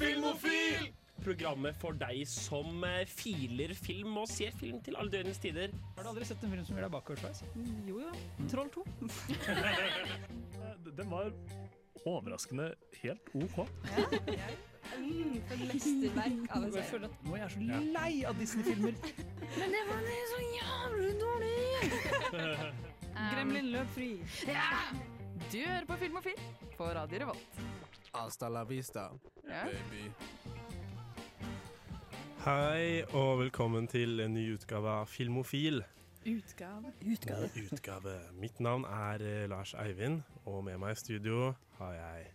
Filmofil! Programmet for deg som eh, filer film og ser film til alle døgnets tider. Har du aldri sett en film som gjør deg bakoversveis? Mm, Mm. Jo jo. Troll 2. Den var overraskende helt OK. Mm, For mesterverk av en Jeg serie. føler at nå er jeg så lei av Disney-filmer. Men det var så jævlig dårlig! Gremlin løp fri. Du hører på Filmofil på Radio Revolt. Hasta la vista, Ja. baby. Hei og velkommen til en ny utgave av Filmofil. Utgave. Utgave. Mitt navn er eh, Lars Eivind, og med meg i studio har jeg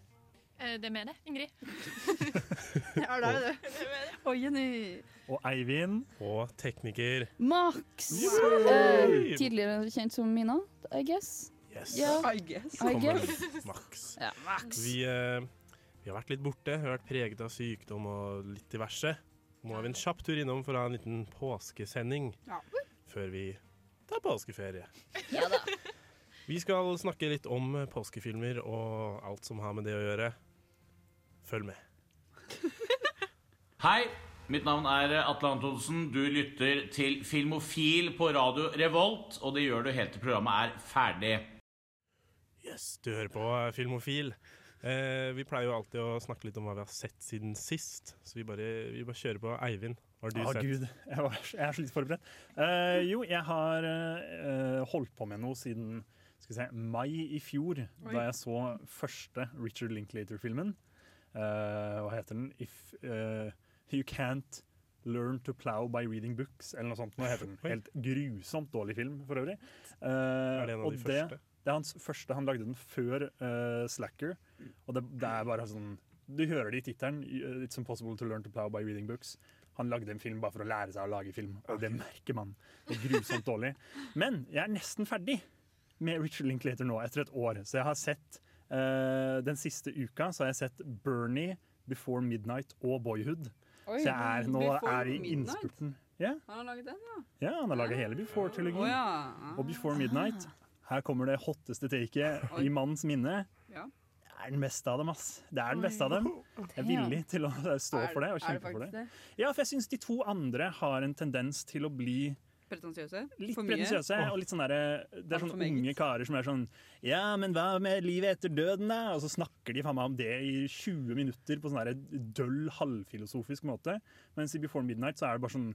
Det mener jeg, Ingrid. Ja, det er det. Og Jenny. Og Eivind og tekniker. Max! Eh, tidligere kjent som Mina, I guess. Yes. Ja, I guess. I Kommer guess. litt Max. Ja. Vi, eh, vi har vært litt borte. Vi har vært preget av sykdom og litt diverse. Nå har vi en kjapp tur innom for å ha en liten påskesending Ja. før vi tar påskeferie. Vi skal snakke litt om påskefilmer og alt som har med det å gjøre. Følg med. Hei, mitt navn er Atle Antonsen. Du lytter til Filmofil på Radio Revolt, og det gjør du helt til programmet er ferdig. Yes, du hører på Filmofil. Eh, vi pleier jo alltid å snakke litt om hva vi har sett siden sist, så vi bare, vi bare kjører på. Eivind, har du Å, sett? Ah, Gud, jeg, var, jeg er så litt forberedt. Eh, jo, jeg har eh, holdt på med noe siden skal vi se, mai i fjor, da jeg så første Richard Linklater-filmen. Eh, hva heter den? If eh, You Can't Learn to Plow by Reading Books, eller noe sånt. Nå heter den. Oi. Helt grusomt dårlig film, for øvrig. Eh, Er det en av og de første? Det er hans første. Han lagde den før eh, Slacker. Og det, det er bare sånn Du hører det i tittelen. eh, It's impossible to learn to plow by reading books. Han lagde en film bare for å lære seg å lage film, og det merker man. Det er grusomt dårlig. Men jeg er nesten ferdig med Richard Linklater nå, etter et år. Så jeg har sett eh, Den siste uka så har jeg sett Bernie, Before Midnight og Boyhood. Oi. så jeg er nå Before er i Midnight? innspurten. Ja, Har han laget den, ja? ja, han har laga hele Å Before-trilogien. ja. Og Before Midnight. Her kommer det hotteste taket i mannens minne. Ja. Det er den beste av dem, ass. Det er den beste av dem. Jeg er villig til å stå for det og Er det kjempe for faktisk det. Ja, for jeg syns de to andre har en tendens til å bli Pretensiøse? litt For mye? pretensiøse. Og litt sånn derre- det er Alt for sånne meget. unge karer som er sånn Ja, men hva med livet etter døden, da? Og så snakker de faen meg om det i 20 minutter på sånn derre døll, halvfilosofisk måte. Mens i Before Midnight så er det bare sånn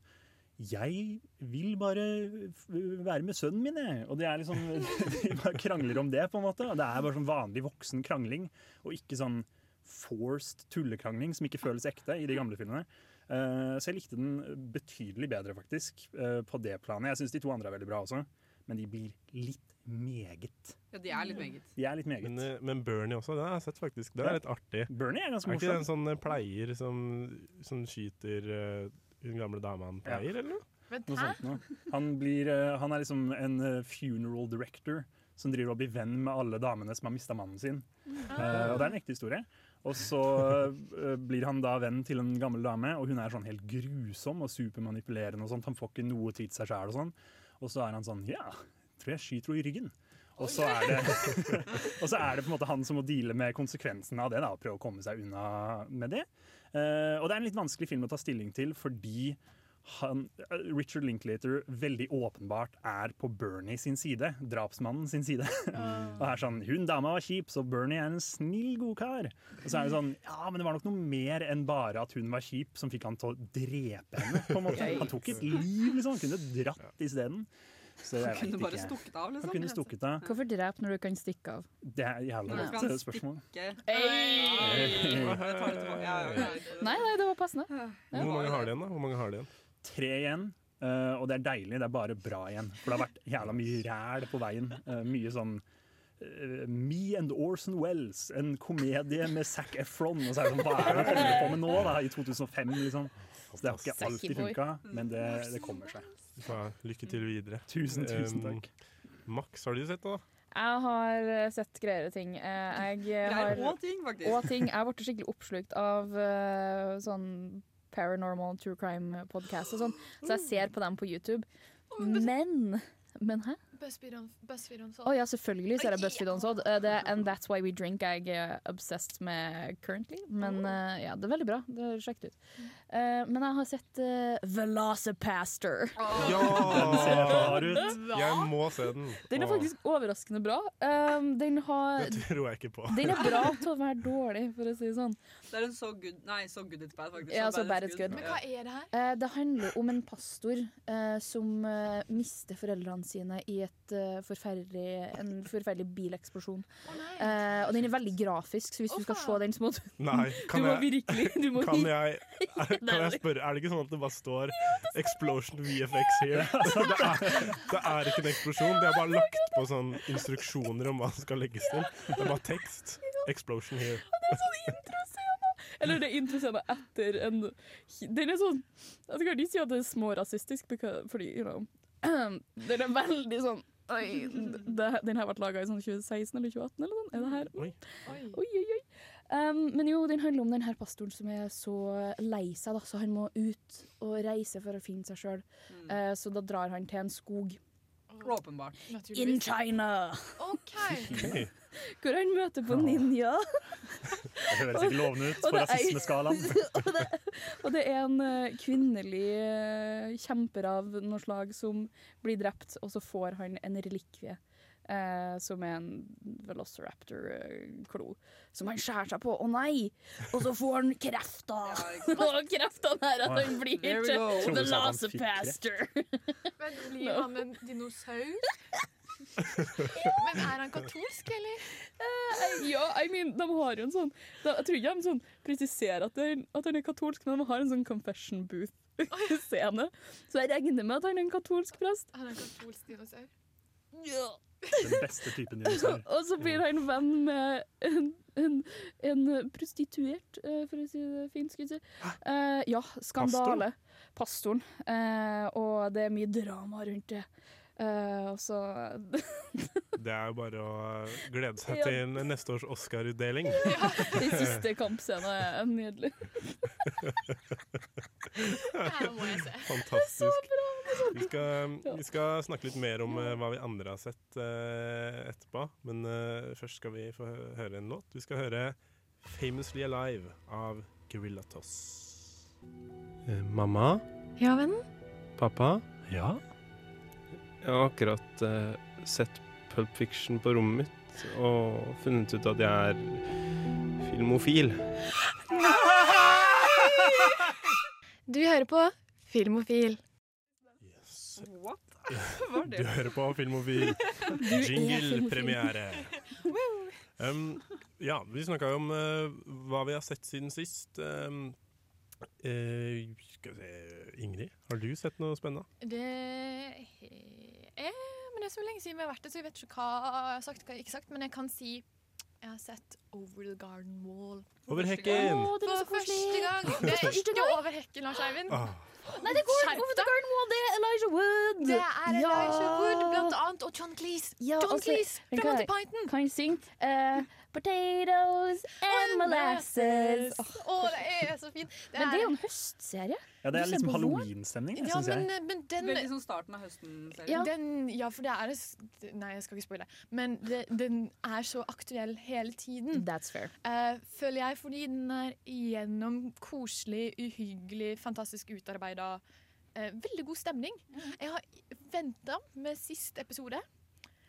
jeg vil bare f- være med sønnen min, jeg. Og det er liksom, de bare krangler om det, på en måte. Og det er bare sånn vanlig voksen krangling, og ikke sånn forced tullekrangling som ikke føles ekte i de gamle filmene. Eh, Så jeg likte den betydelig bedre, faktisk, eh, på det planet. Jeg syns de to andre er veldig bra også, men de blir litt meget. Ja, de er litt meget. De er litt meget. Men, eh, men Bernie også, den har jeg sett faktisk. Den Ja. er litt artig. Bernie er ganske Er ikke det morsom. en sånn eh, pleier som, som skyter eh, hun gamle dama han Ja. pleier, eller noe? Noe sånt noe. Han, blir, eh, han er liksom en eh, funeral director som driver og blir venn med alle damene som har mista mannen sin. Eh, og Det er en ekte historie. Og så eh, blir han da venn til en gammel dame, og hun er sånn helt grusom og supermanipulerende. og sånt. Han får ikke noe tid til seg sjæl og sånn. Og så er han sånn Ja, tror jeg skyter henne i ryggen. Og så, er det, og så er det på en måte han som må deale med konsekvensene av det. da, og Prøve å komme seg unna med det. Eh, og det er en litt vanskelig film å ta stilling til fordi han, eh, Richard Linklater veldig åpenbart er på Bernie sin side, drapsmannen sin side. og er sånn, Hun dama var kjip, så Bernie er en snill, god kar. Og så er det sånn, ja, men det var nok noe mer enn bare at hun var kjip som fikk han til å drepe henne. på en måte. Han tok et liv, liksom. Han kunne dratt isteden. Så jeg Kunne vet bare ikke. stukket av, sånn, liksom. Han kunne stukket av. Hvorfor drepe når du kan stikke av? Det er jævla Nå skal godt han spørsmål. stikke. Hvor Ta det tilbake. Ja, ja, ja. Nei, nei, det var passende. mange har de igjen, da? Hvor mange har de igjen? Tre igjen, eh, og det er deilig. Det er bare bra igjen. For det har vært jævla mye ræl på veien. Eh, Mye sånn eh, Me and Orson Wells, en komedie med Zac Efron. Og så er det sånn, hva er det han holder på med nå, da? I 2005, liksom. Så det har ikke alltid Zacky boy. funka, men det, det kommer seg. Du får ha Lykke til videre. Tusen, tusen Um, takk. Max, har du sett det? da? Jeg har eh, sett greiere ting. Eh, Jeg Greier har og ting, faktisk. Og ting. Jeg ble skikkelig oppslukt av eh, sånn paranormal true crime podcast og sånn, så jeg ser på dem på YouTube. Men Men hæ? BuzzFeed un- BuzzFeed Å Unsolved. ja, selvfølgelig så er det BuzzFeed Unsolved. Eh, Det er And That's Why We Drink jeg er obsessed med currently. Men Mm. eh, ja, det er veldig bra. Det er Sjekk det ut. Eh, men jeg har sett eh, Velocipaster. Den ser rar ut. Jeg må se den. Den er Åh, faktisk overraskende bra. Um, den, har, Det tror jeg ikke på. den er bra til å være dårlig, for å si det sånn. Det er en so good Nei, so good it's bad, faktisk. Ja, So så bad it's good. Men hva er det her? Eh, det handler om en pastor eh, som eh, mister foreldrene sine i et, eh, forferdelig, en forferdelig bileksplosjon. Eh, og den er veldig grafisk, så hvis du skal se den, så må du Nei, kan Du må jeg, virkelig du må kan jeg, er, kan jeg spørre, er det ikke sånn at det bare står 'Explosion VFX here'? Altså, det, er, det er ikke en eksplosjon, de har bare lagt på sånn instruksjoner om hva som skal legges til. Det er bare tekst. 'Explosion here'. Det er sånn introscene! Eller det er introscene etter en Den er sånn Jeg kan ikke si at det er smårasistisk, because- fordi, you know Den er veldig sånn Oi, det, den her ble laga i sånn 2016 eller 2018 eller sånn. Er det her? Oi. Oi, oi, oi. Um, men jo, den handler om den her pastoren som er så lei seg, da, så han må ut og reise for å finne seg sjøl. så da drar han til en skog Åpenbart. in China, OK. Oi. hvor han møter på ninja. Det høres ikke lovende ut Og på det er- rasismeskalaen. og, det, og det er en eh, kvinnelig eh, kjemper av noe slag som blir drept, og så får han en relikvie. eh, som er en velociraptor-klo. Som han skjærer seg på. Å nei! Og så får han krefter! Og kreftene er at han blir There we go. Trodde du sa at han fikk velocipaster. Men blir han en dinosaur? Men er han katolsk, eller? Ja, I mean, de har jo en sånn de, Jeg tror ikke de sånn presiserer at, det er- at han er katolsk, men de har en sånn confession booth-scene. Så jeg regner med at han er en katolsk prest. Er han katolsk dinosaur? Den beste typen dinosaur. Og så blir han venn med en, en, en prostituert, eh, for å si det fint. Skal vi si. Eh, ja, skandale. Pastoren. Eh, og det er mye drama rundt det. Eh, og så Det er jo bare å eh, glede seg Ja. til neste års Oscar-utdeling. Den siste kampscenen er nydelig. Det her må jeg se. Fantastisk. Vi skal, vi skal snakke litt mer om eh, hva vi andre har sett eh, etterpå. Men eh, først skal vi få hø- høre en låt. Vi skal høre 'Famously Alive' av Gorilla Toss. Eh, mamma? Ja, vennen. Pappa? Ja. Jeg har akkurat eh, sett Pulp Fiction på rommet mitt og funnet ut at jeg er filmofil. Du hører på Filmofil. Yes. What? Hva er Du det? hører på Filmofil. filmofil. Jingle-premiere. Um, ja, vi snakka jo om eh, hva vi har sett siden sist. Um, eh, skal vi se Ingrid, har du sett noe spennende? Det er Men det er så lenge siden vi har vært der, så jeg vet ikke hva jeg har sagt hva jeg ikke har sagt. Men jeg kan si jeg har sett Over the Garden Wall Over Å, hekken! den er for så første koselig! gang. Det er ikke over hekken, Lars Eivind. Ah, Nei, det går over til Garden Wall! Det er Elijah Wood! Det er Elijah Ja. Wood blant annet, og John Cleese. Ja, John altså, Cleese men fra Monty hva- Python. Kan jeg synge eh, Potatoes and molasses. Åh, Å, det er så fint. Men Det det er er- jo en høstserie. Ja, det Du er ser liksom på våren. halloweenstemning, det ja, syns jeg. men, eh, men den Veldig sånn starten av høsten-serien. Ja. Den, ja, for det er en s- Nei, jeg skal ikke spoile. Men det, den er så aktuell hele tiden, That's fair. eh, føler jeg, fordi den er igjennom koselig, uhyggelig, fantastisk utarbeida. Eh, veldig god stemning. Mm. Jeg har venta med sist episode,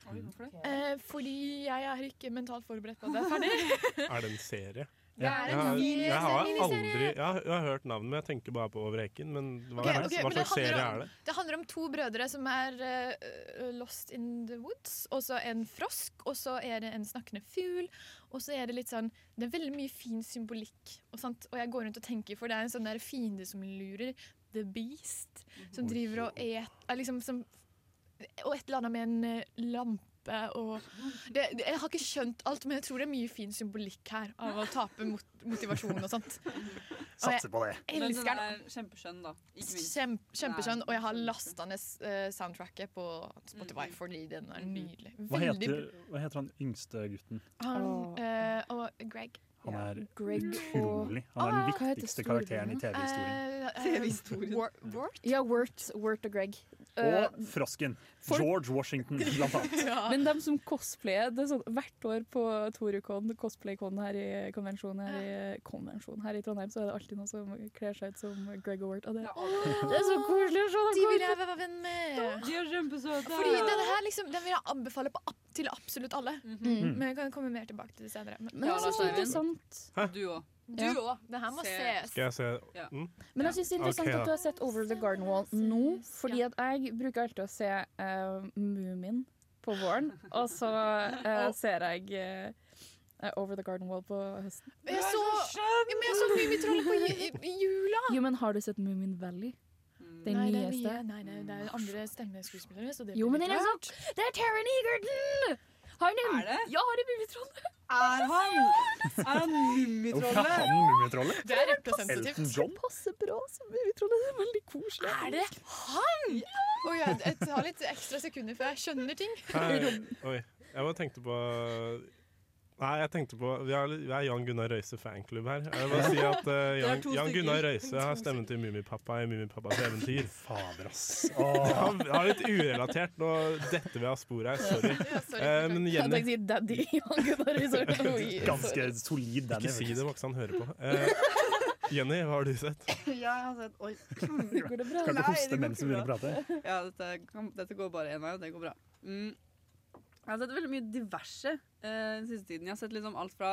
Oi, hvorfor det? eh, fordi jeg er ikke mentalt forberedt på at det er ferdig. er det en serie? Det er Jeg har, en miniserie. jeg har aldri jeg har, jeg har hørt navnet, men jeg tenker bare på Over hekken. Men hva, Ok, ok, hva men det slags serie handler om- er det? Det handler om to brødre som er eh, lost in the woods, og så en frosk, og så er det en snakkende fugl, og så er det litt sånn Det er veldig mye fin symbolikk, og, sant? og jeg går rundt og tenker, for det er en sånn der fiende som lurer, the beast, som driver og et, er liksom som Og et eller annet med en eh, lampe og det, det, Jeg har ikke skjønt alt, men jeg tror det er mye fin symbolikk her av å tape mot, motivasjon og sånt. Satser på det. Jeg Men sånn elsker den den. er kjempeskjønn, da. Ikke minst. Kjemp, kjempeskjønn, og jeg har Nei, lasta ned eh, soundtracket på Spotify Mhm. fordi den er Mhm. nydelig. Hva Veldig heter, hva bra. heter han yngste gutten? Han Åh. eh, og Greg. Han er Greg og utrolig. Han er den Ah, hva heter viktigste storebror karakteren i nå? TV-historien. Eh, eh, TV-historien. Wor- Wort? Ja, Wirt, Wirt og Greg. eh, Og frosken. folk- George Washington, blant annet. Men de som cosplayer det er sånn, Hvert år på Torukon, cosplaycon her i konvensjonen her, i- konvensjon, her i Trondheim, så er det alltid noen som kler seg ut som Greg Award. Og det, det er så koselig å se dem De kose vil jeg være venn med. De er kjempesøte. Fordi den her liksom, den vil jeg anbefale på, ab- til absolutt alle. Mhm. Men jeg kan komme mer tilbake til det senere. Men altså, jeg synes det er interessant. Du òg. Du Ja. òg. Det her må ses. Skal jeg se mm? Men jeg synes det er interessant Ok, da. at du har sett Over the Garden Wall nå, fordi at jeg bruker alltid å se uh, Moomin på våren, og så eh, ser jeg eh, Over the Garden Wall på høsten. Jeg så, ja, men jeg så Mummitrollet på ju- i, i jula. Jo, men har du sett Moomin Valley? Mm. Den nei, det er nyeste? nye. Nei, nei, det er andre stemmeskuespillere. Så det Jo, blir men litt det er liksom- rart. sant! Det er Taron Egerton! Har hun Er det? Ja, har du Mummitrollet? Er han Er han Hvorfor er mummitrollet? han Mummitrollet? Det er Elton representativt. John? Passe bra som Mummitrollet. Det er veldig koselig. Er det han?! Oi, jeg, jeg tar litt ekstra sekunder før jeg skjønner ting. Her, oi. Jeg bare tenkte på Nei, jeg tenkte på Vi har, vi har Jan Gunnar Røise fanklubb her. Jeg vil bare si at eh, er Jan, to Jan stykker. Gunnar Røise har stemmen til Mummipappa i Mummipappas eventyr. Fader, ass. Åh. Han han er litt urelatert. Nå detter vi av sporet her, sorry. Ja, sorry. Eh, men Jeg Jenny tenkte si Daddy Jan Gunnar Røisholm. Oi, Ganske solid, den. Ikke si det, Max. Han hører på. Eh, Jenny, hva har du sett? Ja, jeg har sett Oi. Går det bra? Skal ikke Nei, hoste det går mens du ikke begynner å prate. Ja, dette, kan, dette går bare én vei, og det går bra. Mm. Jeg har sett veldig mye diverse eh, den siste tiden. Jeg har sett liksom alt fra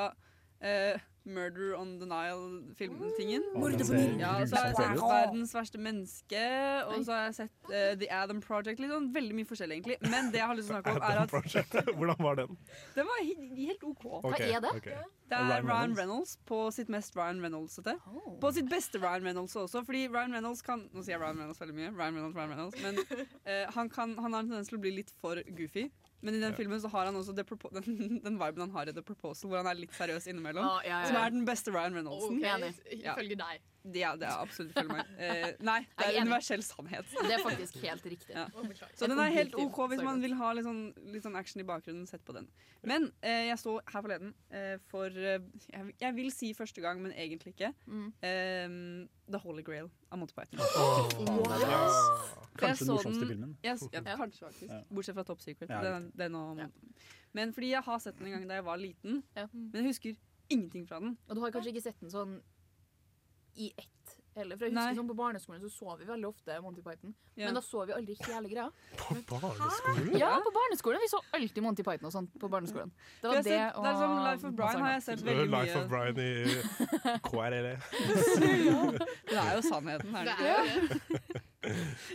eh, Murder on the Nile-filmtingen. Mm. Mordet på Nilen. Ja, og så har jeg sett Grusom Verdens verste menneske, og så har jeg sett eh, The Adam Project. Liksom. Veldig mye forskjellig, egentlig. Men det jeg har lyst til å snakke om, er Adam at Project. Hvordan var den? den var he- helt OK. Ok, er det? ok. Det Og Ryan er Ryan Reynolds på sitt mest Ryan Reynolds-ete. Oh. På sitt beste Ryan Reynolds også, fordi Ryan Reynolds kan Nå sier jeg Ryan Reynolds veldig mye. Ryan Reynolds, Ryan Reynolds Men eh, han, kan, han har en tendens til å bli litt for goofy. Men i den Ja. filmen så har han også det propo- den, den viben han har i The Proposal, hvor han er litt seriøs innimellom. Ah, ja, ja, Som ja. er den beste Ryan Reynoldsen. Enig. Ja. Ifølge deg. Ja, det er absolutt følg meg. Eh, nei, det Nei, er enig. universell sannhet. Det er faktisk helt riktig. Oh Ja. Å, beklager. Så Et den er helt objektiv, OK hvis sorry. man vil ha litt sånn, litt sånn action i bakgrunnen. Sett på den. Men eh, jeg så her forleden eh, for eh, jeg, vil- jeg vil si første gang, men egentlig ikke. Mm. eh, The Holy Grail av Monty Python. Kanskje den så morsomste den- filmen. Jeg, s- ja, kanskje faktisk Ja. Bortsett fra Top Secret. Ja, den, den og, Ja. Men fordi jeg har sett den en gang da jeg var liten. Ja. Men jeg husker ingenting fra den. Og du har kanskje ikke sett den sånn i ett heller. For jeg Nei. husker sånn På barneskolen så så vi veldig ofte Monty Python, Ja. men da så vi aldri hele greia. På barneskolen? Ja, på barneskolen. Vi så alltid Monty Python og sånt på barneskolen. Det For var jeg det har sett- det er og sånn Life of Brian har jeg sett veldig Life of mye. Brian i KRLE. Det er jo sannheten. Er det? Det ikke? er jo det.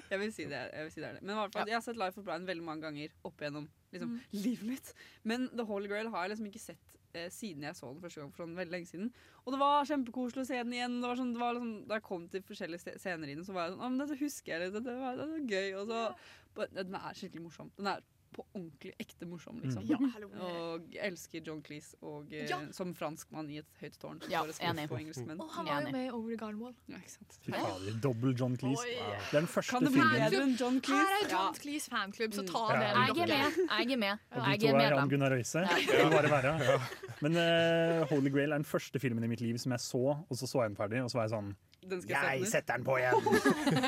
Jeg vil si det, er- jeg vil si det er det. Men i hvert fall, jeg har sett Life of Brian veldig mange ganger opp igjennom liksom, Mm. livet mitt. Men The Holy Grail har jeg liksom ikke sett eh, siden jeg så den første gang for sånn veldig lenge siden. Og det var kjempekoselig å se den igjen. Det var sånn, det var liksom, da jeg kom til forskjellige ste- scener i den, så var jeg sånn Å, men dette husker jeg litt. Dette var, dette var gøy. Og så Bare- Den er skikkelig morsom. Den er på ordentlig ekte morsom, liksom. Ja, hallo. Og jeg elsker John Cleese og, eh, Ja. som franskmann i et høyt tårn. Ja, bare skutt enig. på engelskmenn. Og han var Enig. jo med i Over the Garden Wall. Ja, ikke sant. Fy fader, dobbel John Cleese. Oi. Det er den første Kan det bli filmen. bedre enn John Her Cleese? er John Cleese fanklubb, så ta Ja. det. Ja. Jeg er med. Jeg er med. Og Jeg de to er er Jan medlem. Gunnar Røise. Det må bare være. Men eh, Holy Grail er den første filmen i mitt liv som jeg så, og så så jeg den ferdig, og så var jeg sånn Ja, den skal Jeg jeg sette den ut. setter den på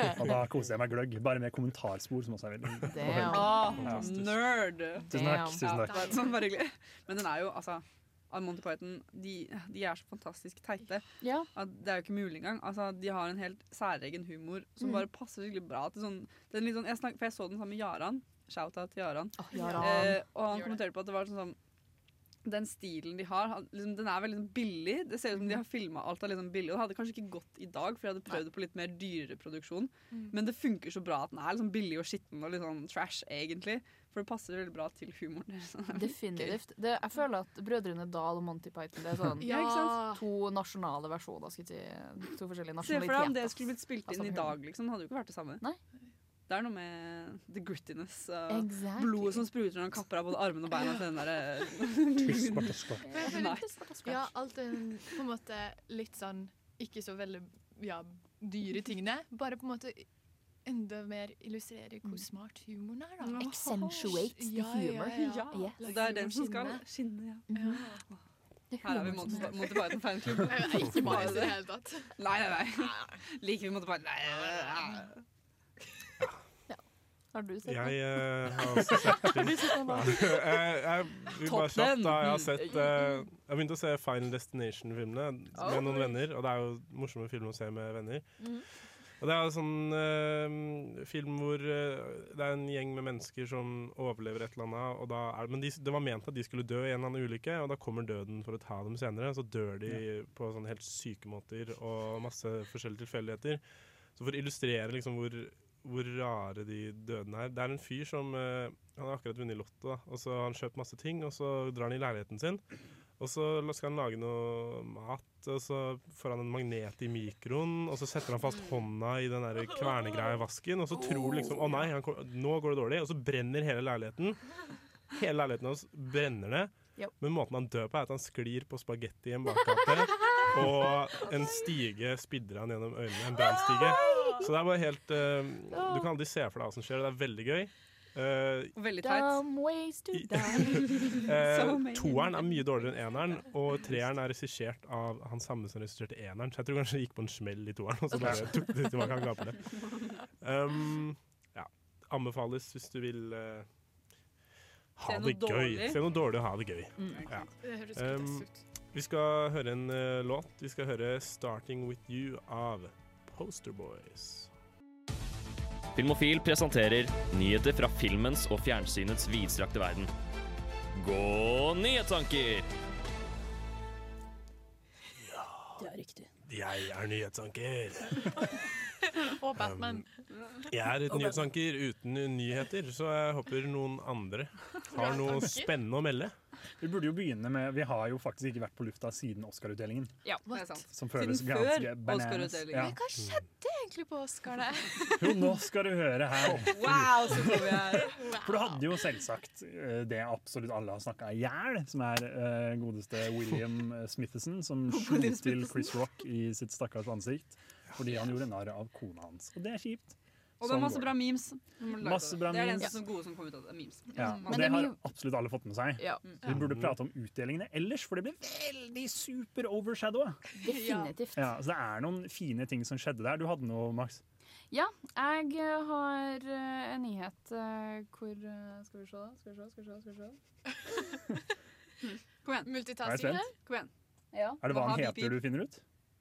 igjen! Og da koser jeg meg gløgg. Bare med kommentarspor, som også er veldig Damn. Ah, Fantastisk. nerd! Tusen takk. Tusen takk. Ja, det er sånn, bare hyggelig. Men den er jo, altså av Monty Python, de, de er så fantastisk teite Ja. at det er jo ikke mulig engang. Altså, de har en helt særegen humor som bare passer skikkelig bra til sånn, den litt sånn jeg snak, For jeg så den sammen med Jaran. Shout-out til Jaran. Åh, Jaran. Eh, og han Gjør det. kommenterte på at det var sånn sånn den stilen de har, han- liksom, den er veldig sånn billig. Det ser ut som de har filma alt av liksom billig. Og det hadde kanskje ikke gått i dag, for jeg hadde prøvd det på litt mer dyrere produksjon. Men det funker så bra at den er liksom billig og skitten og litt sånn trash, egentlig. For det passer veldig bra til humoren deres. Definitivt. Det, jeg føler at Brødrene Dal og Monty Python Det er sånn Ja, ikke sant? to nasjonale versjoner. Skal jeg si. To forskjellige Se for deg om det nasjonaliteter. skulle blitt spilt Altså, inn i humor. dag, liksom. Det hadde jo ikke vært det samme. Nei. Det er noe med the grittiness. og Exactly. Blodet som spruter når han kapper av både armene og beina til den eh, derre Svart og svart. Men jeg føler- Nei. Ja, alt er på en måte litt sånn ikke så veldig ja, dyre tingene. Bare på en måte enda mer illustrerer hvor smart humoren er. da. Accentuates the humor. Ja, ja, Yes. ja. Og det er den som skal skinne. Ja. Her er vi Monty Monty Python fanklubb. Eh, Ikke bare i det hele tatt. Nei, nei, nei. Liker vi Monty Python? Nei, nei, nei. Har du sett Jeg eh, den? har også sett Har du sett den? Nei, jeg, jeg, vil bare Topp kjapt, den. Mm. da. Jeg har sett eh, Jeg har begynt å se Final Destination-filmene Oh. med noen venner, og det er jo morsomme filmer å se med venner. Mhm. Og det er jo sånn eh, film hvor eh, det er en gjeng med mennesker som overlever et eller annet, og da er det Men de, det var ment at de skulle dø i en eller annen ulykke, og da kommer døden for å ta dem senere. Så dør de på sånn helt syke måter og masse forskjellige tilfeldigheter. Så for å illustrere liksom hvor, hvor rare de dødene er Det er en fyr som eh, Han har akkurat vunnet i Lotto, da, og så har han kjøpt masse ting, og så drar han i leiligheten sin. Og så skal han lage noe mat, og så får han en magnet i mikroen, og så setter han fast hånda i den der kvernegreia i vasken, og så tror han liksom Å nei, han kom, nå går det dårlig. Og så brenner hele leiligheten. Hele leiligheten hans brenner ned. Yep. Men måten han dør på, er at han sklir på spagetti i en bakgate. Og en stige spidder han gjennom øynene. En brannstige. Så det er bare helt eh, Du kan aldri se for deg hva som skjer. Det er veldig gøy. Eh, Veldig teit. Dumb ways to die. Eh, So many. toeren er mye dårligere enn eneren, og treeren er regissert av han samme som regisserte eneren. Så jeg tror kanskje det gikk på en smell i toeren, og så bare tok det tilbake. Han gaper det. Um, ja. Anbefales hvis du vil eh, Se ha noe det gøy. dårlig. Se noe dårlig og ha det gøy. Mm. Ja. Det høres Um, fantastisk vi skal høre en eh, låt. Vi skal høre 'Starting With You' av Poster Boys. Filmofil presenterer nyheter fra filmens og fjernsynets vidstrakte verden. Gå nyhetstanker! Det er riktig. Jeg er nyhetsanker. Um, Og Batman. Jeg er et nyhetsanker uten nyheter, så jeg håper noen andre har noe Tanker? spennende å melde. Vi burde jo begynne med Vi har jo faktisk ikke vært på lufta siden Oscar-utdelingen. Ja, det er sant. Som føles ganske bananas. Ja. Men Hva skjedde egentlig på Oscar, det? Jo, nå skal du høre her. Wow, så får vi For du hadde jo selvsagt eh, det absolutt alle har snakka i hjel, som er eh, godeste William eh, Smithson, som slo William til Smithson. Chris Rock i sitt stakkars ansikt fordi han gjorde narr av kona hans. Og det er kjipt. Og det Sånn er masse går bra memes. som er laget av Masse det. bra det er det memes. eneste som gode som kommer ut av det. er Memes. Mm. Ja, og det har absolutt alle fått med seg. Ja. Vi burde prate om utdelingene ellers, for det ble veldig super overshadowa. Definitivt. Ja, så det er noen fine ting som skjedde der. Du hadde noe, Max. Ja, jeg eh, har eh, en nyhet eh, hvor eh, Skal vi se, da? Skal vi se, skal vi se. Skal vi se. Kom igjen. Er jeg spent? her? Kom igjen. Ja. Er det hva han heter du finner ut?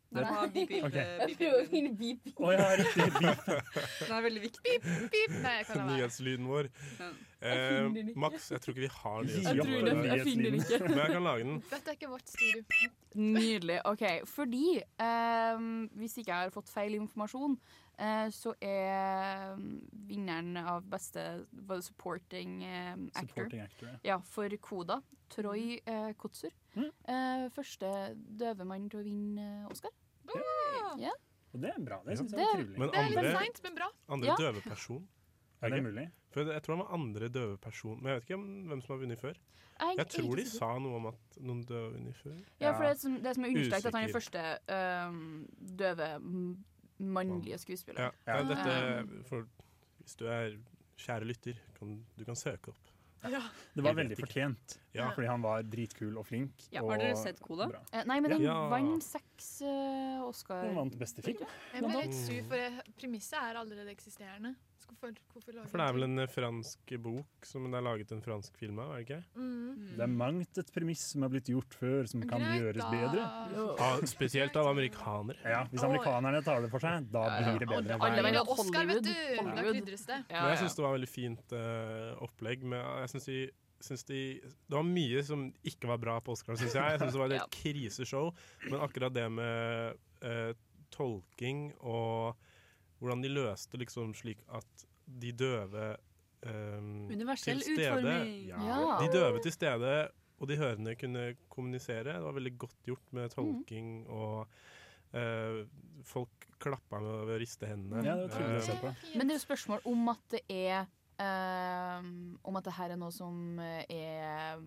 Nei, Det- ha beep, beep, Ok. eh, beep, prøver å finne beep. Å ja, riktig. Beep. Det er veldig viktig. Beep, beep. Nei, jeg Nyhetslyden vår. Jeg Eh, finner den ikke. Max, jeg tror ikke vi har Gi nyhetslyden opp vår den i dag. jeg finner den ikke. Men jeg kan lage den. Dette er ikke vårt studio. Nydelig. OK. Fordi ehm, hvis ikke jeg har fått feil informasjon, eh, så er ehm, vinneren av beste hva- supporting ehm, actor, Supporting actor, ja. ja, for Koda, Troy eh, Kotsur. Eh, første døve mann til å vinne eh, Oscar. Ja. Og det er bra. Det Ja. syns jeg er trivelig. Men andre, andre Ja. døve person. Er det ikke? mulig? For jeg tror han var andre døve person, men jeg vet ikke om, hvem som har vunnet før. Jeg er Jeg ikke tror de sikker. sa noe om at noen døve har vunnet før. Ja, for det som, det som er understreket, er at han er Usikker. første ehm, døve m- mannlige skuespiller. Ja, Ah, ja, Ehm, dette for, Hvis du er kjære lytter, kan, du kan søke opp. Ja. Det var Jeg vet veldig ikke. fortjent, Ja. fordi han var dritkul og flink. Ja, og har dere sett Koda? bra. eh, nei, men den Ja. vant seks eh, Oscar. Den vant beste film. Jeg ble litt sur, for det- premisset er allerede eksisterende. Så Hvorfor, hvorfor lager For det er vel en eh, fransk bok som det er laget en fransk film av, er det ikke? Mhm. Det er mangt et premiss som er blitt gjort før, som kan Greit, gjøres da. bedre. Ja, Ah, spesielt av amerikanere. Ja, Hvis amerikanerne tar det for seg, da blir det bedre. Alle vil hver gang. ha Oscar, vet du! Da Hollywood. krydres det. Men jeg syns det var veldig fint eh, opplegg. Men jeg synes de, synes de, det var mye som ikke var bra på Oscar, syns jeg. Jeg synes det var et helt kriseshow. Men akkurat det med eh, tolking og hvordan de løste liksom slik at de døve eh, Universell til stede- utforming. Ja. Ja. De døve til stede og de hørende kunne kommunisere. Det var veldig godt gjort Mm. med tolking og eh, folk klappa med ved å riste hendene. Eh, Ja, det var trivelig å se på. Men det er jo spørsmål om at det er ehm, Om at det her er noe som eh, er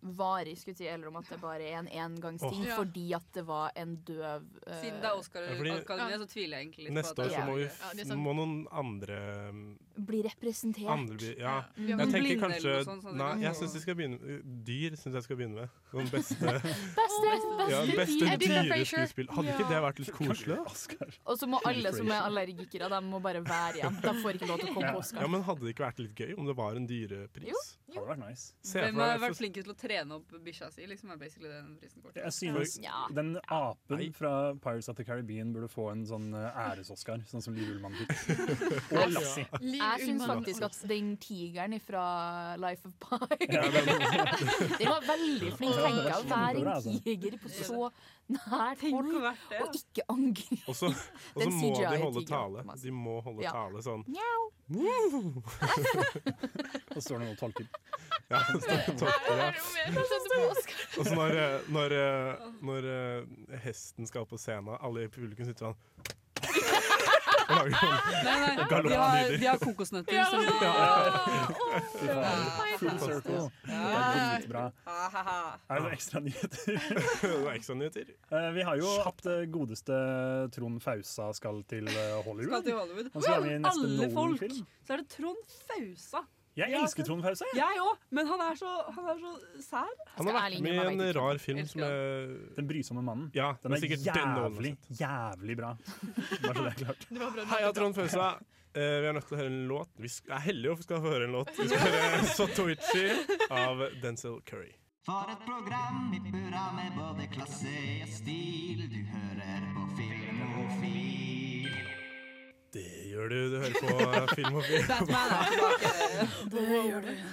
varig, skulle jeg si, eller om at det bare er en engangsting Åh. Ja. fordi at det var en døv eh, Siden det er Oscar Ja, fordi- Akademia, så tviler jeg egentlig litt Neste på år at så må, vi, det er- f- må noen andre mm, Blir representert. andre by, ja. Mm. Jeg Noen tenker blinde kanskje eller noe sånt, sånn at Nei, de kan jeg få- syns de skal begynne eh, Dyr syns jeg skal begynne med. Noen beste Beste, ja, beste, beste dyr. dyreskuespill. Hadde ikke det vært litt koselig? da? Og så må alle som er allergikere, de må bare være igjen. De får ikke lov til å komme Ja. på Oscar. ja, men hadde det ikke vært litt gøy om det var en dyrepris? Jo. Hadde vært nice. Se Hvem for har deg vært det. flinkest til å trene opp bikkja si? Liksom er basically det den prisen går til. Jeg synes den apen fra Pirates of the Caribbean burde få en sånn eh, æres-Oscar, sånn som Liv Ullmann fikk. Og Lassie. Jeg syns Ullmann. faktisk at den tigeren fra Life of Pi Den var veldig flink. Ja, Tenk det var deg å være kjempebra, en altså. tiger på så nært hold og ikke angripe. Og så og så må Den de CGI-tigeren, holde tale. Thomas. De må holde Ja. tale sånn. Mjau. Og står det noen tolker. Ja, det står tolker, ja. Og så når, eh, når, eh, når eh, hesten skal opp på scenen, alle i publikum sitter sånn Og lager sånn Nei, nei, de har, galopplyder. de har kokosnøtter. Ja, som- ja, Fy faen. Full circle. Det er dritbra. Er det noen ekstra nyheter? ekstra nyheter? vi har jo at eh, godeste Trond Fausa skal til eh, Hollywood. Skal til Hollywood. Han skal være med i Men neste alle folk! Nolan-film. Så er det Trond Fausa. Jeg elsker Trond Fausa. jeg. Jeg òg, men han er så, han er så sær. Han har vært med i en rar film som er Den brysomme mannen. Ja, Den det er er sikkert den Nolan har jævlig, jævlig bra. Bare så det er klart. Heia Trond Fausa. Eh, vi er nødt til å høre en låt. Vi sk- er heldige om vi skal få høre en låt. Vi skal høre Sotoichi av Denzil Curry. For et program i burra med både klasse og stil. Du hører på Filmofil. Det gjør du. Du hører på Filmofil. Batman er Det gjør du.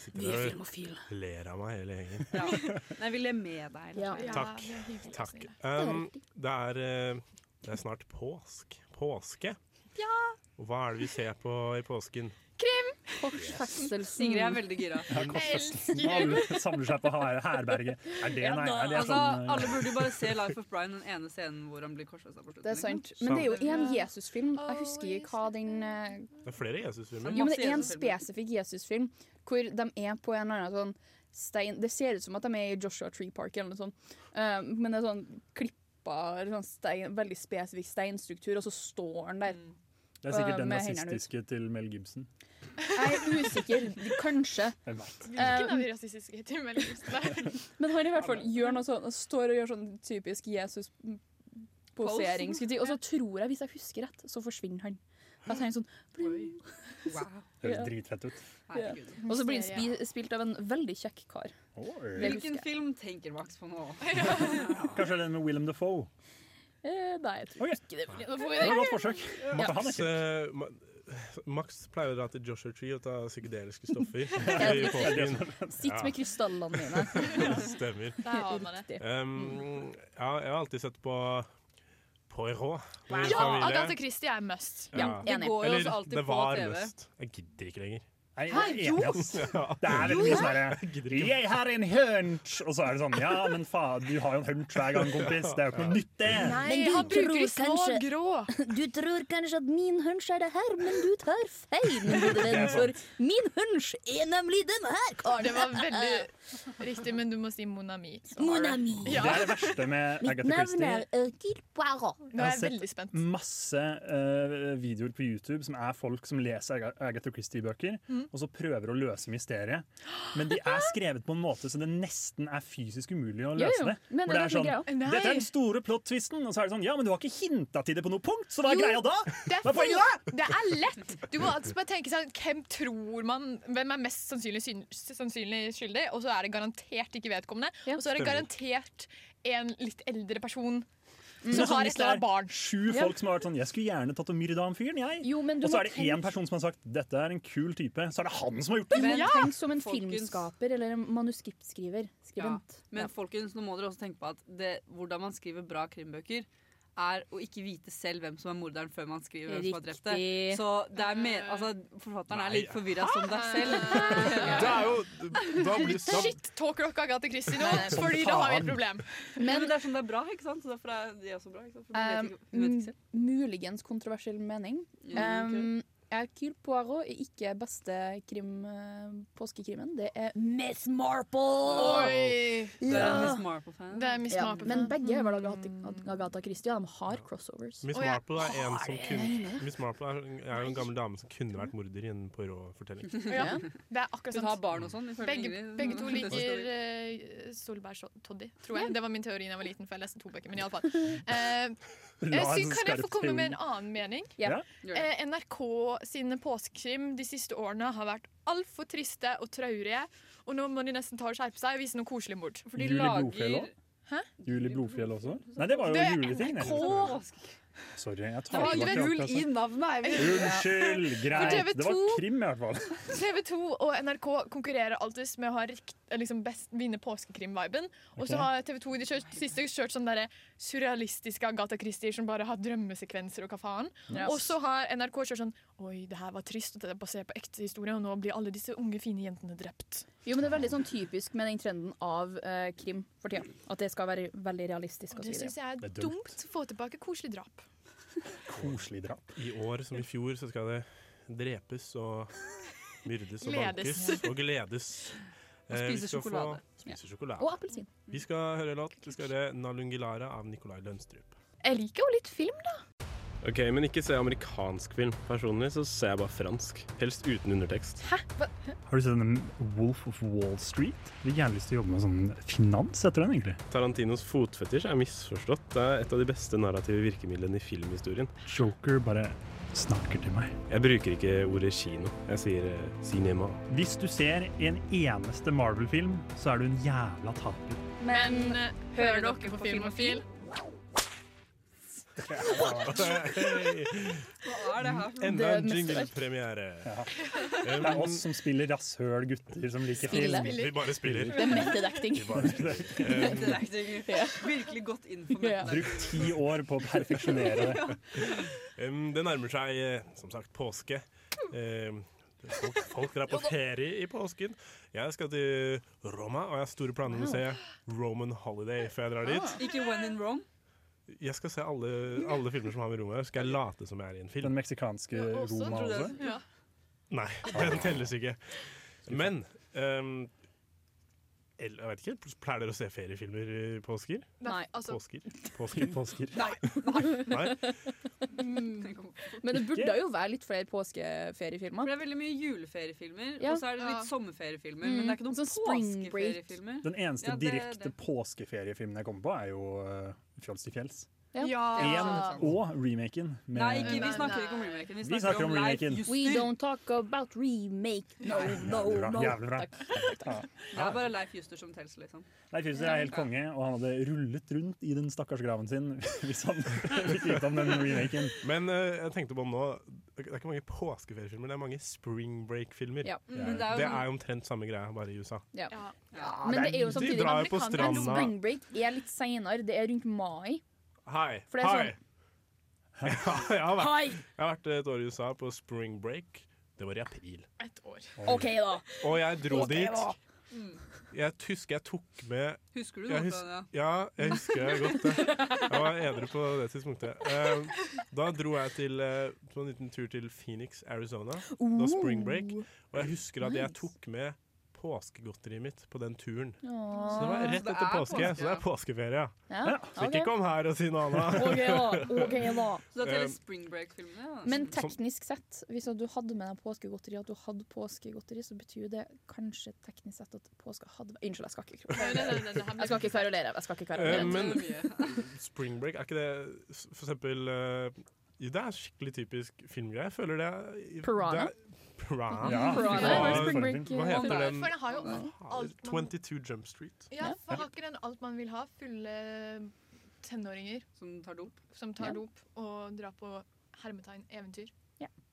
Sitter Vi er og Filmofil. Ler av meg hele gjengen. Ja. Nei, vi ler med deg. rett og slett. Takk. Takk. Um, det, er, eh, det er snart påsk. Påske. Ja! Og hva er det vi ser på i påsken? Krim! Ingrid er veldig gira. Ja, korsfestelsen. Alle samler seg på her- herberget. Er det, nei, er det altså, sånn eh, alle burde jo bare se Life of Brian, den ene scenen hvor han blir korsfesta på slutten. liksom. Det er sant. Men det er jo en Jesusfilm. Jeg husker ikke hva den eh, Det er flere Jesusfilmer. Jo, men det er en spesifikk Jesusfilm hvor de er på en eller annen sånn stein Det ser ut som at de er i Joshua Tree Park eller noe sånt, Eh, men det er sånn klippa eller sånn stein, veldig spesifikk steinstruktur, og så står han der. Det er sikkert eh, den med hendene ut. rasistiske til Mel Gibson. Jeg er usikker. Kanskje. Jeg vet. Eh, Hvilken av de rasistiske tilmeldingene? Men han i hvert fall gjør noe sånn, står og gjør sånn typisk Jesus-posering, Posen. skulle jeg si. Og så tror jeg, hvis jeg husker rett, så forsvinner han. Da tenker jeg sånn bling. Høres Ja. dritfett ut. Ja. Og så blir han spi spilt av en veldig kjekk kar. Oi. Det Hvilken husker jeg. film tenker Max på nå? Kanskje den med Willem Dafoe. Eh, nei, jeg tror ikke det. blir- Nå får vi Det var et godt forsøk. Måtte han Max, ikke. eh, Ma- Max pleier å dra til Joshua Tree og ta psykedeliske stoffer. i påsken. det. Sitt med krystallene mine. Ja, Stemmer. Der har man det. Um, ja, jeg har alltid sett på Poirot. Min Ja, familie. Agatha Christie er must. Eller, det var must. Jeg gidder ikke lenger. Nei, jeg Hæ, er jo? enig, ass. Det er veldig mye sånn herre Jeg har en hunch! Og så er det sånn Ja, men faen, du har jo en hunch hver gang, kompis. Det er jo ikke noe nytt, det. Men du tror, kanskje, du tror kanskje at min hunch er det her, men du tar feil, min gode Det venn. er For min hunch er nemlig denne her karen. Det var veldig riktig, men du må si Mon Ami. Mon Ami. Ja. Det er det verste med Mitt Agatha navn Christie. er Hercule Poirot. Nå er jeg sett veldig spent. masse eh, videoer på YouTube som er folk som leser Aga- Agatha Christie-bøker, Mm. og så prøver å løse mysteriet. Men de er skrevet på en måte så det nesten er fysisk umulig å Jo, løse jo, det. men Hvor det det er er sånn, det greia. Nei. Dette er den store plot-twisten, og så er det sånn Ja, men du har ikke hinta til det på noe punkt, så hva er Jo, Mm. greia da? Det er, Hva er poenget da? fordi- det er lett! Du må altså bare tenke sånn, Hvem tror man Hvem er mest sannsynlig, syn- sannsynlig skyldig? Og så er det garantert ikke vedkommende. Og så er det Stemmer. garantert en litt eldre person Men som sånn, har hvis et eller annet det er barn. Sju folk som har vært sånn Jeg skulle gjerne tatt og myrda han fyren, jeg. Jo, men du og så må er det tenke- én person som har sagt 'dette er en kul type', så er det han som har gjort det! Men Ja! tenk som en Folkens. filmskaper eller en manuskriptskriver. Skribent. Men folkens, nå må dere også tenke på at det, hvordan man skriver bra krimbøker, er å ikke vite selv hvem som er morderen før man skriver hvem som har drept det. Riktig. Så det er mer, altså, forfatteren er Nei. like forvirra som deg selv. Det er jo da blir, da, Shit, talk rock Agathe Christie nå, Nei, som fordi da har vi et faen. problem. Men, det er sånn det er bra, ikke sant? Så derfor er de også bra. Ikke Mm, sant? For de vet ikke, Um, de vet ikke selv. muligens kontroversiell mening. Ja, Um, Hercule Poirot er ikke beste krim, eh, påskekrimen. Det er Miss Marple! Oi! Det er en Miss Mm. Marple-fan. Det er Miss Ja, Marple-fan. Men begge er vel Agatha, Agatha Christie, og de har crossovers. Miss Og jeg Marple er en har som det. kunne Miss Marple er, er jo en gammel dame som kunne vært morder i en Poirot-fortelling. Ja, det er akkurat Hun sant. har barn og sånn, ifølge Begge, Ingrid. begge to Det står liker i. uh, Solbær-toddy, tror jeg. Det var min teori da jeg var liten, for jeg leste to bøker. Men iallfall. Uh, La oss kan jeg skarp få komme med en teori. annen mening? Ja. Gjør det. Eh, NRK sine påskekrim de siste årene har vært altfor triste og traurige. Og nå må de nesten ta og skjerpe seg og vise noe koselig mord. For de Juli Blodfjell lager også? Hæ? Jul i Blodfjell også? Nei, det var Det jo er juleting. det. liksom. NRK. Sorry, jeg Det tar var tilbake alt jul jeg sa. navnet, Unnskyld, greit. TV2 Det var krim i hvert fall. TV 2 og NRK konkurrerer alltid med å ha rikt, liksom best, vinne påskekrim-viben. Og så Ok. har TV 2 i det kjørt, siste kjørt sånn derre surrealistiske Agatha Christie som bare har drømmesekvenser og hva faen. Ja. Og så har NRK kjørt sånn Oi, det her var trist, og det er basert på ekte historie, og nå blir alle disse unge, fine jentene drept. Jo, men Det er veldig sånn typisk med den trenden av eh, krim for tida. At det skal være veldig realistisk. Og det syns jeg er dumt. Få tilbake koselig drap. Koselig drap. I år som i fjor så skal det drepes og myrdes og Gledes. bankes og gledes. Og Eh, vi spise skal få- sjokolade. Spise sjokolade. Og appelsin. Vi skal høre låt. Vi skal høre 'Nalungilara' av Nicolai Lønstrup. Jeg liker jo litt film, da. Ok, Men ikke se amerikansk film. Personlig så ser jeg bare fransk. Helst uten undertekst. Har du sett den Wolf of Wall Street? Jeg har gjerne lyst til å jobbe med sånn finans etter den, egentlig. Tarantinos fotfetisj er misforstått. Det er et av de beste narrative virkemidlene i filmhistorien. Joker bare snakker til meg. Jeg bruker ikke ordet kino. Jeg sier eh, cinema. Hvis du ser en eneste Marvel-film, så er du en jævla taper. Men hører dere på Filmofil? Hva er det her for Enda en Det er jinglepremiere. Um, Det er oss som spiller rasshøl gutter som liker film. Spiller. Vi bare spiller. Det er method-acting. Vi bare spiller. Det er ikke- Virkelig godt informert. Bruk ti år på å perfeksjonere det. Um, det nærmer seg, eh, som sagt, påske. Um, folk, folk drar på ferie i påsken. Jeg skal til Roma, og jeg har store planer om å se Roman Holiday før jeg drar dit. Ikke When in Rome. Jeg skal se alle, alle filmer som har med Roma å gjøre. Skal jeg late som jeg er i en film? Den meksikanske Roma også. Ja. Nei, den telles ikke. Men um, eller, jeg vet ikke, Pleier dere å se feriefilmer i påsker? Nei, altså- Påsker? Påsker? Nei. Nei. Men det burde jo være litt flere påskeferiefilmer. For det er veldig mye juleferiefilmer, Ja. og så er det litt Ja. sommerferiefilmer. Men det er ikke noen Sånn spring break. påskeferiefilmer. Den eneste Ja, det- direkte påskeferiefilmen jeg kommer på, er jo eh, Fjols til fjells. Ja. En- og remaken. med- Nei, ikke, vi snakker ikke om remaken. Vi Vi snakker, snakker om om Leif remaken. Juster. We don't talk about remake. No, no, Oh, no. Jævlig bra. Det er bare Leif Juster som tels, liksom. Leif Juster er helt konge, og han hadde rullet rundt i den stakkars graven sin hvis han fikk vite om den remaken. Men eh, jeg tenkte på nå Det er ikke mange påskeferiefilmer, det er mange spring break-filmer. Ja. Mm, men det, det er jo er sånn- jo omtrent samme greia, bare i USA. Ja. Ja, Men det er- det er jo de samtidig drar jo på Men stranda. Spring break er litt seinere. Det er rundt mai. Hei! For det er hei! sånn- Ja, jeg, har Hei! vært, jeg har vært et år i USA på spring break. Det var i april. Et år. OK, da. Og jeg dro Ok, da. dit. Mm. Jeg husker jeg tok med Husker du jeg noe hus- av det, Ja, jeg husker jeg godt det. Jeg var edru på det tidspunktet. Eh, Da dro jeg til, eh, på en liten tur til Phoenix, Arizona. Det var spring break. Og jeg husker at jeg Nice. tok med påskegodteriet mitt på den turen. Åh. Så det var Så rett det etter er påske, påske, så det er påskeferie. Ja, Så ok. ikke kom her og si noe annet. Ok, da. Ok, da. Så da teller Eh, spring break-filmene. ja. Men teknisk sett, hvis at du hadde med deg påskegodteri, at du hadde påskegodteri, så betyr jo det kanskje teknisk sett at påska hadde Unnskyld, jeg skal ikke Jeg skal ikke kverulere. Jeg skal ikke Eh, kverulere. Men spring break, er ikke det s- for eksempel eh, jo, Det er skikkelig typisk filmgreie. Jeg føler det er Piranha? det er- Piranha? Ja, Piranha Fy faen, er spring break, Hva eh, heter den? For den har jo alt man 22 Jump Street. Ja, for har ikke den alt man vil ha? Fulle tenåringer. Som tar dop. Som tar Ja. dop og drar på hermetegn eventyr.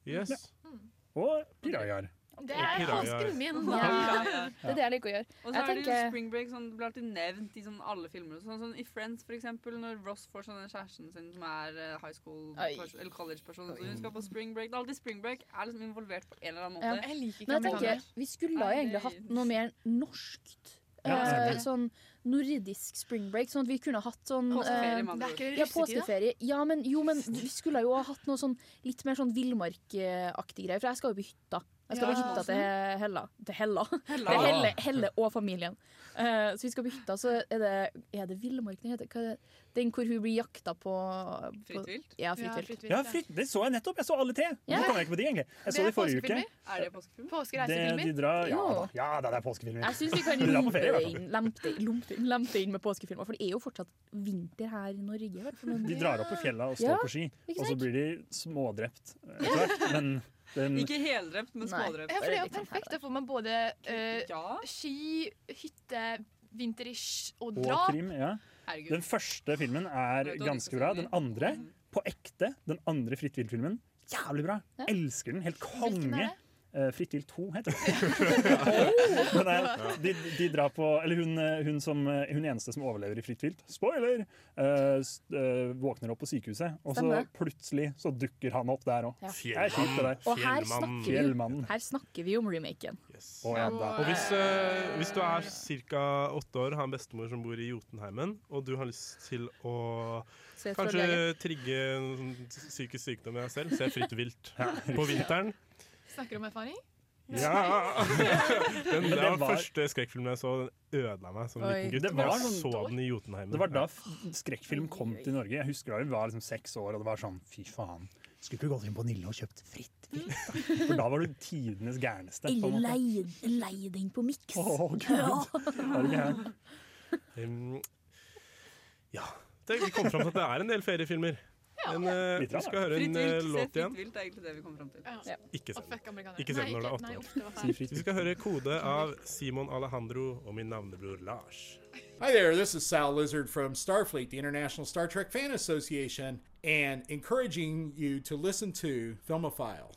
Yes. Mm. Og pirajaer. Det er Pirajaer. påsken min! Ja. da. Det er det jeg liker å gjøre. Og så Jeg er det jo tenker- spring break sånn, Det blir alltid nevnt i sånn alle filmer. og Sånn, sånn I Friends, for eksempel, når Ross får sånn den kjæresten sin som er eh, high school Oi. pers- eller college-person, så hun skal på spring break. Det er alltid spring break er liksom involvert på en eller annen Ja. måte. Men jeg tenker, vi skulle jo egentlig hatt noe mer norskt Ja, Eh, enig. sånn nordisk spring break, sånn at vi kunne hatt sånn Påskeferie, med eh, andre Det er ord. ikke ja, russetid, da. påskeferie. Ja, men, jo, men vi skulle jo ha hatt noe sånn litt mer sånn villmarkaktig greier, for jeg skal jo på hytta. Jeg skal Ja, på hytta til sånn. Hella. Til Hella. Hella. Ah. Til Helle, Helle og familien. Eh, så vi skal på hytta, så er det, er det villmark den heter? Hva er det? Den hvor hun blir jakta på, på Fritt vilt? Ja, fritt vilt. Ja, fritt, det så jeg nettopp! Jeg så alle tre! Nå Ja. kom jeg ikke på de, egentlig. Jeg så det forrige uke. Er det påskefilmer? Det, de drar, ja, da, ja da, det er påskefilmer. Jeg syns vi kan De drar på lempe ferie, i hvert fall. inn, lempe, lempe, inn- lempe inn med påskefilmer, for det er jo fortsatt vinter her i Norge. i hvert fall. De drar opp i fjella og står Ja, på ski, ikke og så sant? blir de smådrept. eh, etter hvert, Men den, Ikke heldrept, men smådrept. Ja, for det er sånn jo perfekt. Da får man både eh, ski, hytte, vinterish og og drap. krim, ja. Herregud. Den første filmen er ganske bra. Den andre, Mm. på ekte, den andre Fritt vilt-filmen, jævlig bra. Ja. Elsker den. Helt Hvilken er konge. det? Eh, Fritt vilt 2 heter den. Den er, de, de drar på Eller hun, eh, hun, som, eh, hun eneste som overlever i Fritt vilt, spoiler, eh, s- eh, våkner opp på sykehuset, og så Stemmer. plutselig så dukker han opp der òg. Ja. Og her Fjellmannen. snakker, vi, Fjellmannen. her snakker vi om remaken. Å, ja, da. Og hvis, eh, hvis du er ca. åtte år, har en bestemor som bor i Jotunheimen, og du har lyst til å Se for kanskje lege. trigge en sånn psykisk sykdom i deg selv, se fritt vilt på vinteren. Snakker du om erfaring? Ja! Den, Men det det var var- første skrekkfilmen jeg så. Den ødela meg som Oi. liten gutt. Det var jeg sånn- så den i Jotunheimen. Det var da Ja. f- skrekkfilm kom til Norge. Jeg husker da vi var liksom seks år, og det var sånn fy faen. Skulle ikke gått inn på Nille og kjøpt fritt vilt? da? For da var du tidenes gærneste. på en Eller måte. leie leie den på miks. Å, Gud. Er du gæren? Um, ja. Det, vi kom fram til at det er en del feriefilmer. Men eh, Litt vi rann, skal høre en Fritt eh, vilt, se låt igjen. fritt vilt, er egentlig det vi kom fram til. Ikke se Og fuck den. amerikanere. Ikke se Nei, den når det ikke- nei, er uff, det var åtte feil. Si år. Vi skal høre kode av Simon Alejandro og min navnebror Lars. Hi there, this is Sal Lizard from Starfleet, the International Star Trek Fan Association, and encouraging you to listen to Filmophile.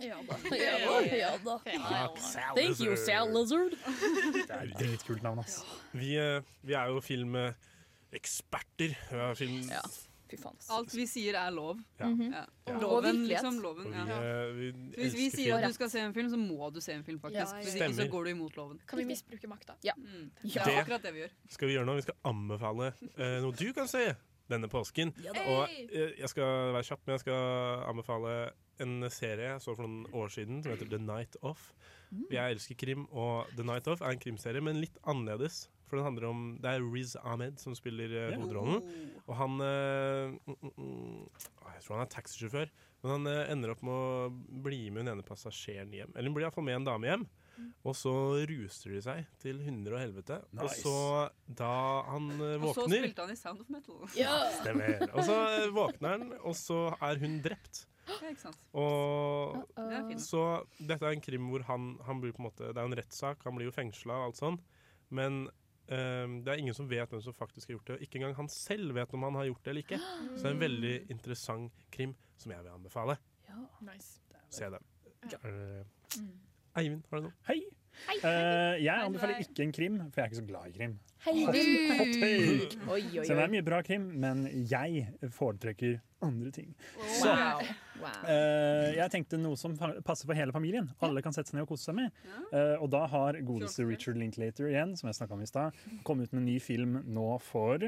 Ja da. Ja da. Ja da. Sal Thank you, Lizard. Sal Lizard. Det er et kult navn, ass. Vi, eh, vi er jo filmeksperter. Vi er film... Fy faen. ass. Alt vi sier er lov. Ja. Mhm. Ja. Ja. Og Loven, virkelighet. liksom. Loven, Og vi, ja. eh, vi Så Hvis elsker vi sier at film. du skal se en film, så må du se en film, faktisk. Ja, ja, ja. Hvis ikke så Stemmer. går du imot loven. Mm. Kan vi misbruke makta? Ja. Det er akkurat det vi gjør. skal vi gjøre nå. Vi skal anbefale eh, noe du kan se denne påsken. Ja da. Og eh, jeg skal være kjapp, men jeg skal anbefale en serie jeg så for noen år siden som heter The Night Off. Mm. Jeg elsker krim, og The Night Off er en krimserie, men litt annerledes. For den handler om, Det er Riz Ahmed som spiller eh, Ja. hovedrollen. Og han eh, mm, mm, mm, ah, Jeg tror han er taxisjåfør. Men han eh, ender opp med å bli med hun ene passasjeren hjem. Eller hun blir iallfall med en dame hjem. Mm. Og så ruser de seg til hunder og helvete. Og Nice. så, da han eh, Og så våkner spilte han i Sound of Metal. Stemmer. Og så eh, våkner han, og så er hun drept. Ja, ikke sant. Og Det er fint. Mm. så dette er en krim hvor han, han blir på en måte Det er en rettssak, han blir jo fengsla og alt sånn. Men ehm, det er ingen som vet hvem som faktisk har gjort det. og Ikke engang han selv vet om han har gjort det eller ikke. Så det er en veldig interessant krim som jeg vil anbefale. Se den. Er det- Mm. Eivind, har du noe? Hei! Eh, jeg anbefaler ikke en krim, for jeg er ikke så glad i krim. Hei, Hot- du. hot take. Oi, oi, oi. Så det er mye bra krim, men jeg foretrekker andre ting. Så Wow. Wow. eh, jeg tenkte noe som fa- passer for hele familien. Alle kan sette seg ned og kose seg med. Eh, og da har godeste Richard Linklater igjen, som jeg snakket om i stad, kommet ut med en ny film nå for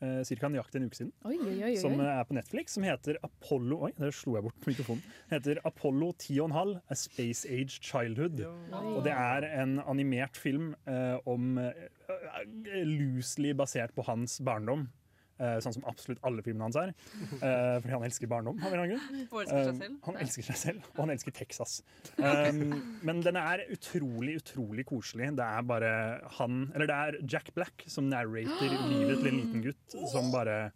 uh, ca. nøyaktig en uke siden. Oi, oi, oi, oi. Som eh, er på Netflix, som heter Apollo Oi, der slo jeg bort mikrofonen. Heter Apollo 10,5 A Space Age Childhood. Og det er en animert film eh, om eh, eh, loosely basert på hans barndom. Eh, sånn som absolutt alle filmene hans er. Eh, fordi han elsker barndom. Av en eller annen grunn. Og elsker seg Eh, han elsker seg selv. selv, og han elsker Texas. Um, men den er utrolig, utrolig koselig. Det er bare han Eller det er Jack Black som narrater livet til en liten gutt som bare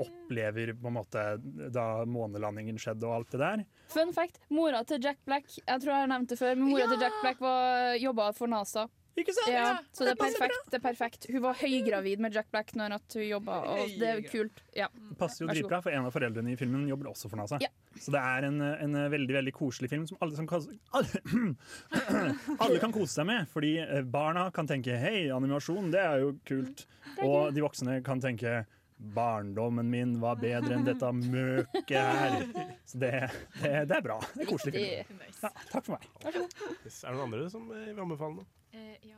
opplever på en måte da månelandingen skjedde og alt det der. Fun fact, mora til Jack Black Jeg tror jeg har nevnt det før, men mora til Jack Black var, jobba for NASA. Ikke sant? Ja, så det Det er, passer bra. perfekt, det er perfekt. Hun var høygravid med Jack Black når at hun jobba, og det er Høygravid. kult. Ja. Det passer jo Mm. Vær så god. dritbra, for en av foreldrene i filmen jobber også for NASA. Så det er en, en veldig veldig koselig film som alle, som kan, alle, alle kan kose seg med. Fordi eh, barna kan tenke 'hei, animasjon, det er jo kult'. Mm. Og de voksne kan tenke 'barndommen min var bedre enn dette møket her'. Så det, det, det er bra. Det er koselig film. Riktig. Ja, takk for meg. Yes, Er det noen andre som eh, vil anbefale noe? Eh, ja.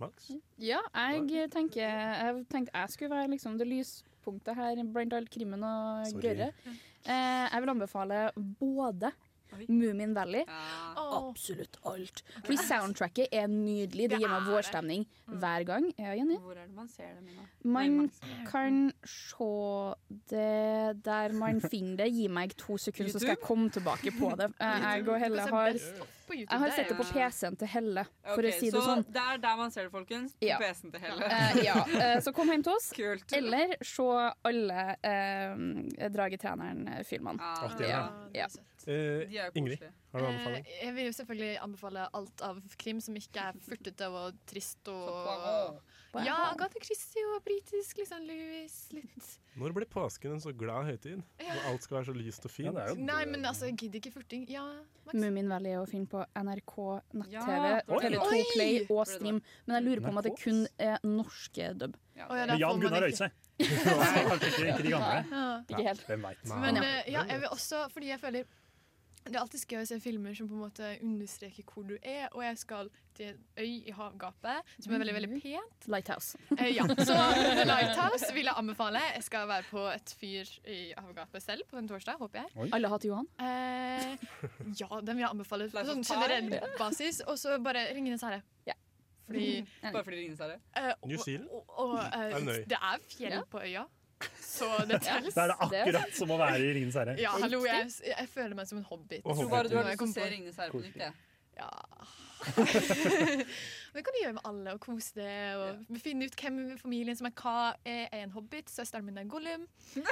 Max? Ja, jeg tenker Jeg tenkte jeg skulle være liksom det lyspunktet her blant all krimmen og Sorry. gørre. Eh, jeg vil anbefale både Moomin Valley Absolutt alt. Fordi soundtracket er nydelig. Det gir meg vårstemning hver gang. Ja, Jenny? Hvor er det man ser det, Mina? Man kan se det der man finner det. Gi meg to sekunder, så skal jeg komme tilbake på det. Eh, Jeg og Helle har Jeg har sett det på PC-en til Helle, for Ok, å si det sånn. Så det er der man ser det, folkens. På Ja. PC-en til Helle. Eh, ja, eh, så kom hjem til oss. Eller se alle eh, Dragetreneren-filmene. Artig, ja. ja. De er Eh, jo Ingrid, har du anbefaling? Eh, Jeg vil jo selvfølgelig anbefale alt av krim som ikke er furtete og trist og Poirot. Ja, Agatha Christie og britisk, liksom Louis litt Når ble påsken en så glad høytid? Når alt skal være så lyst og fint? Nei, men altså, jeg gidder ikke furting. Ja, Max. Moomin Valley er å finne på NRK nett-TV, Ja. Oi. TV2 Oi! Play og Stream. Men jeg lurer på om at det kun er norske dub. Å, ja, da Men Jan får man Gunnar Øyse. ikke- Kanskje ikke, ikke de gamle. Ja. Ikke helt. Hvem vet. Men eh, ja, jeg vil også, fordi jeg føler det er alltid gøy å se filmer som på en måte understreker hvor du er, og jeg skal til en øy i havgapet, som er veldig, veldig pent. Lighthouse. Eh, ja, så The Lighthouse vil jeg anbefale. Jeg skal være på et fyr i havgapet selv på en torsdag, håper jeg. Alle har hatt Johan. Eh, ja, den vil jeg anbefale på Life sånn of Pi? generell basis, og så bare Ringenes herre. Fordi Bare fordi det ringes her. eh, og- New Zealand? Og, og, eh, Er det en øy? det er fjell på øya, så det telles. Da er det akkurat som å være i Ringens herre. Ja, hallo, jeg, jeg føler meg som en hobbit. Og hobbit, Bare du har Når lyst til jeg å kommer se på- Ringenes herre på nytt, jeg. Ja. det kan du gjøre med alle, og kose det, og finne ut hvem i familien som er hva. Jeg er en hobbit, søsteren min er Gollum.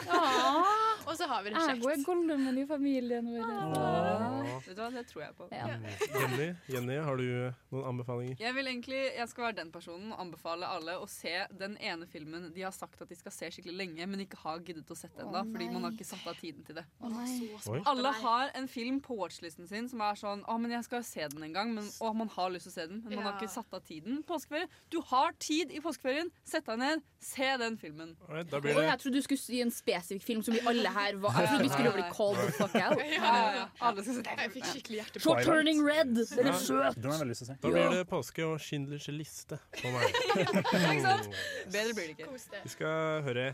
Ah. og så har vi det Jeg er kjekt. Goldumen i familien vår. Vet du hva, det tror jeg på. Jenny, Jenny, har du noen anbefalinger? Jeg vil egentlig, jeg skal være den personen og anbefale alle å se den ene filmen de har sagt at de skal se skikkelig lenge, men ikke har giddet å sette ennå, Å, fordi man nei. har ikke satt av tiden til det. Oi. Alle har en film på watchlisten sin som er sånn Å, men jeg skal se den en gang. Men, å, man har lyst til å se den, men man har Ja. ikke satt av tiden. Påskeferie. Du har tid i påskeferien! Sett deg ned, se den filmen. Da Og jeg trodde du skulle si en spesifikk film som vi alle her var Jeg trodde vi skulle bli called the fuck out. Alle skal se den. Jeg fikk skikkelig hjerte Se Turning Red! Den er Ja, søt! Den har jeg veldig lyst til å se. Da blir det påske og Schindlers liste på meg. Oh. Ikke sant? Bedre blir det ikke. Vi skal høre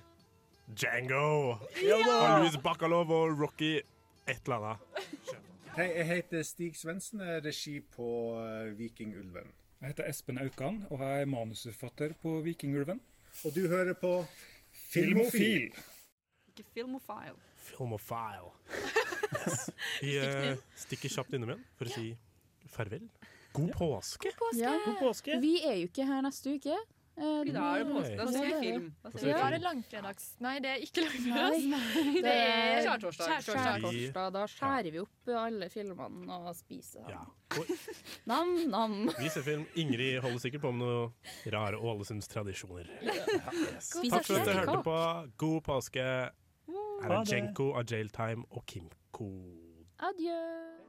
Django Ja da! av Louis Bacalov og Rocky et eller annet. Hei, jeg heter Stig Svendsen, jeg er regi på eh, Vikingulven. Jeg heter Espen Aukan, og jeg er manusforfatter på Vikingulven. Og du hører på Filmofil. Ikke filmofile. Filmofile. Yes. Vi eh, stikker kjapt innom igjen for å si farvel. God påske! Ja. God påske. Vi er jo ikke her neste uke. Eh, Da er det du- påske. Da ser vi Ja. film. Da ser vi Ja. Da er det langfredags. Nei, det er ikke langfredags. Nei, det er Skjærtorsdag. Skjærtorsdag. Da skjærer vi opp alle filmene og spiser dem. Nam-nam. Vi ser film. Ingrid holder sikkert på med noen rare Ålesunds tradisjoner. Yes. Spiser Takk for at du kjøttkake. hørte på. God påske. Ha Er det det. Jenko av Jailtime og Kimko? Adjø.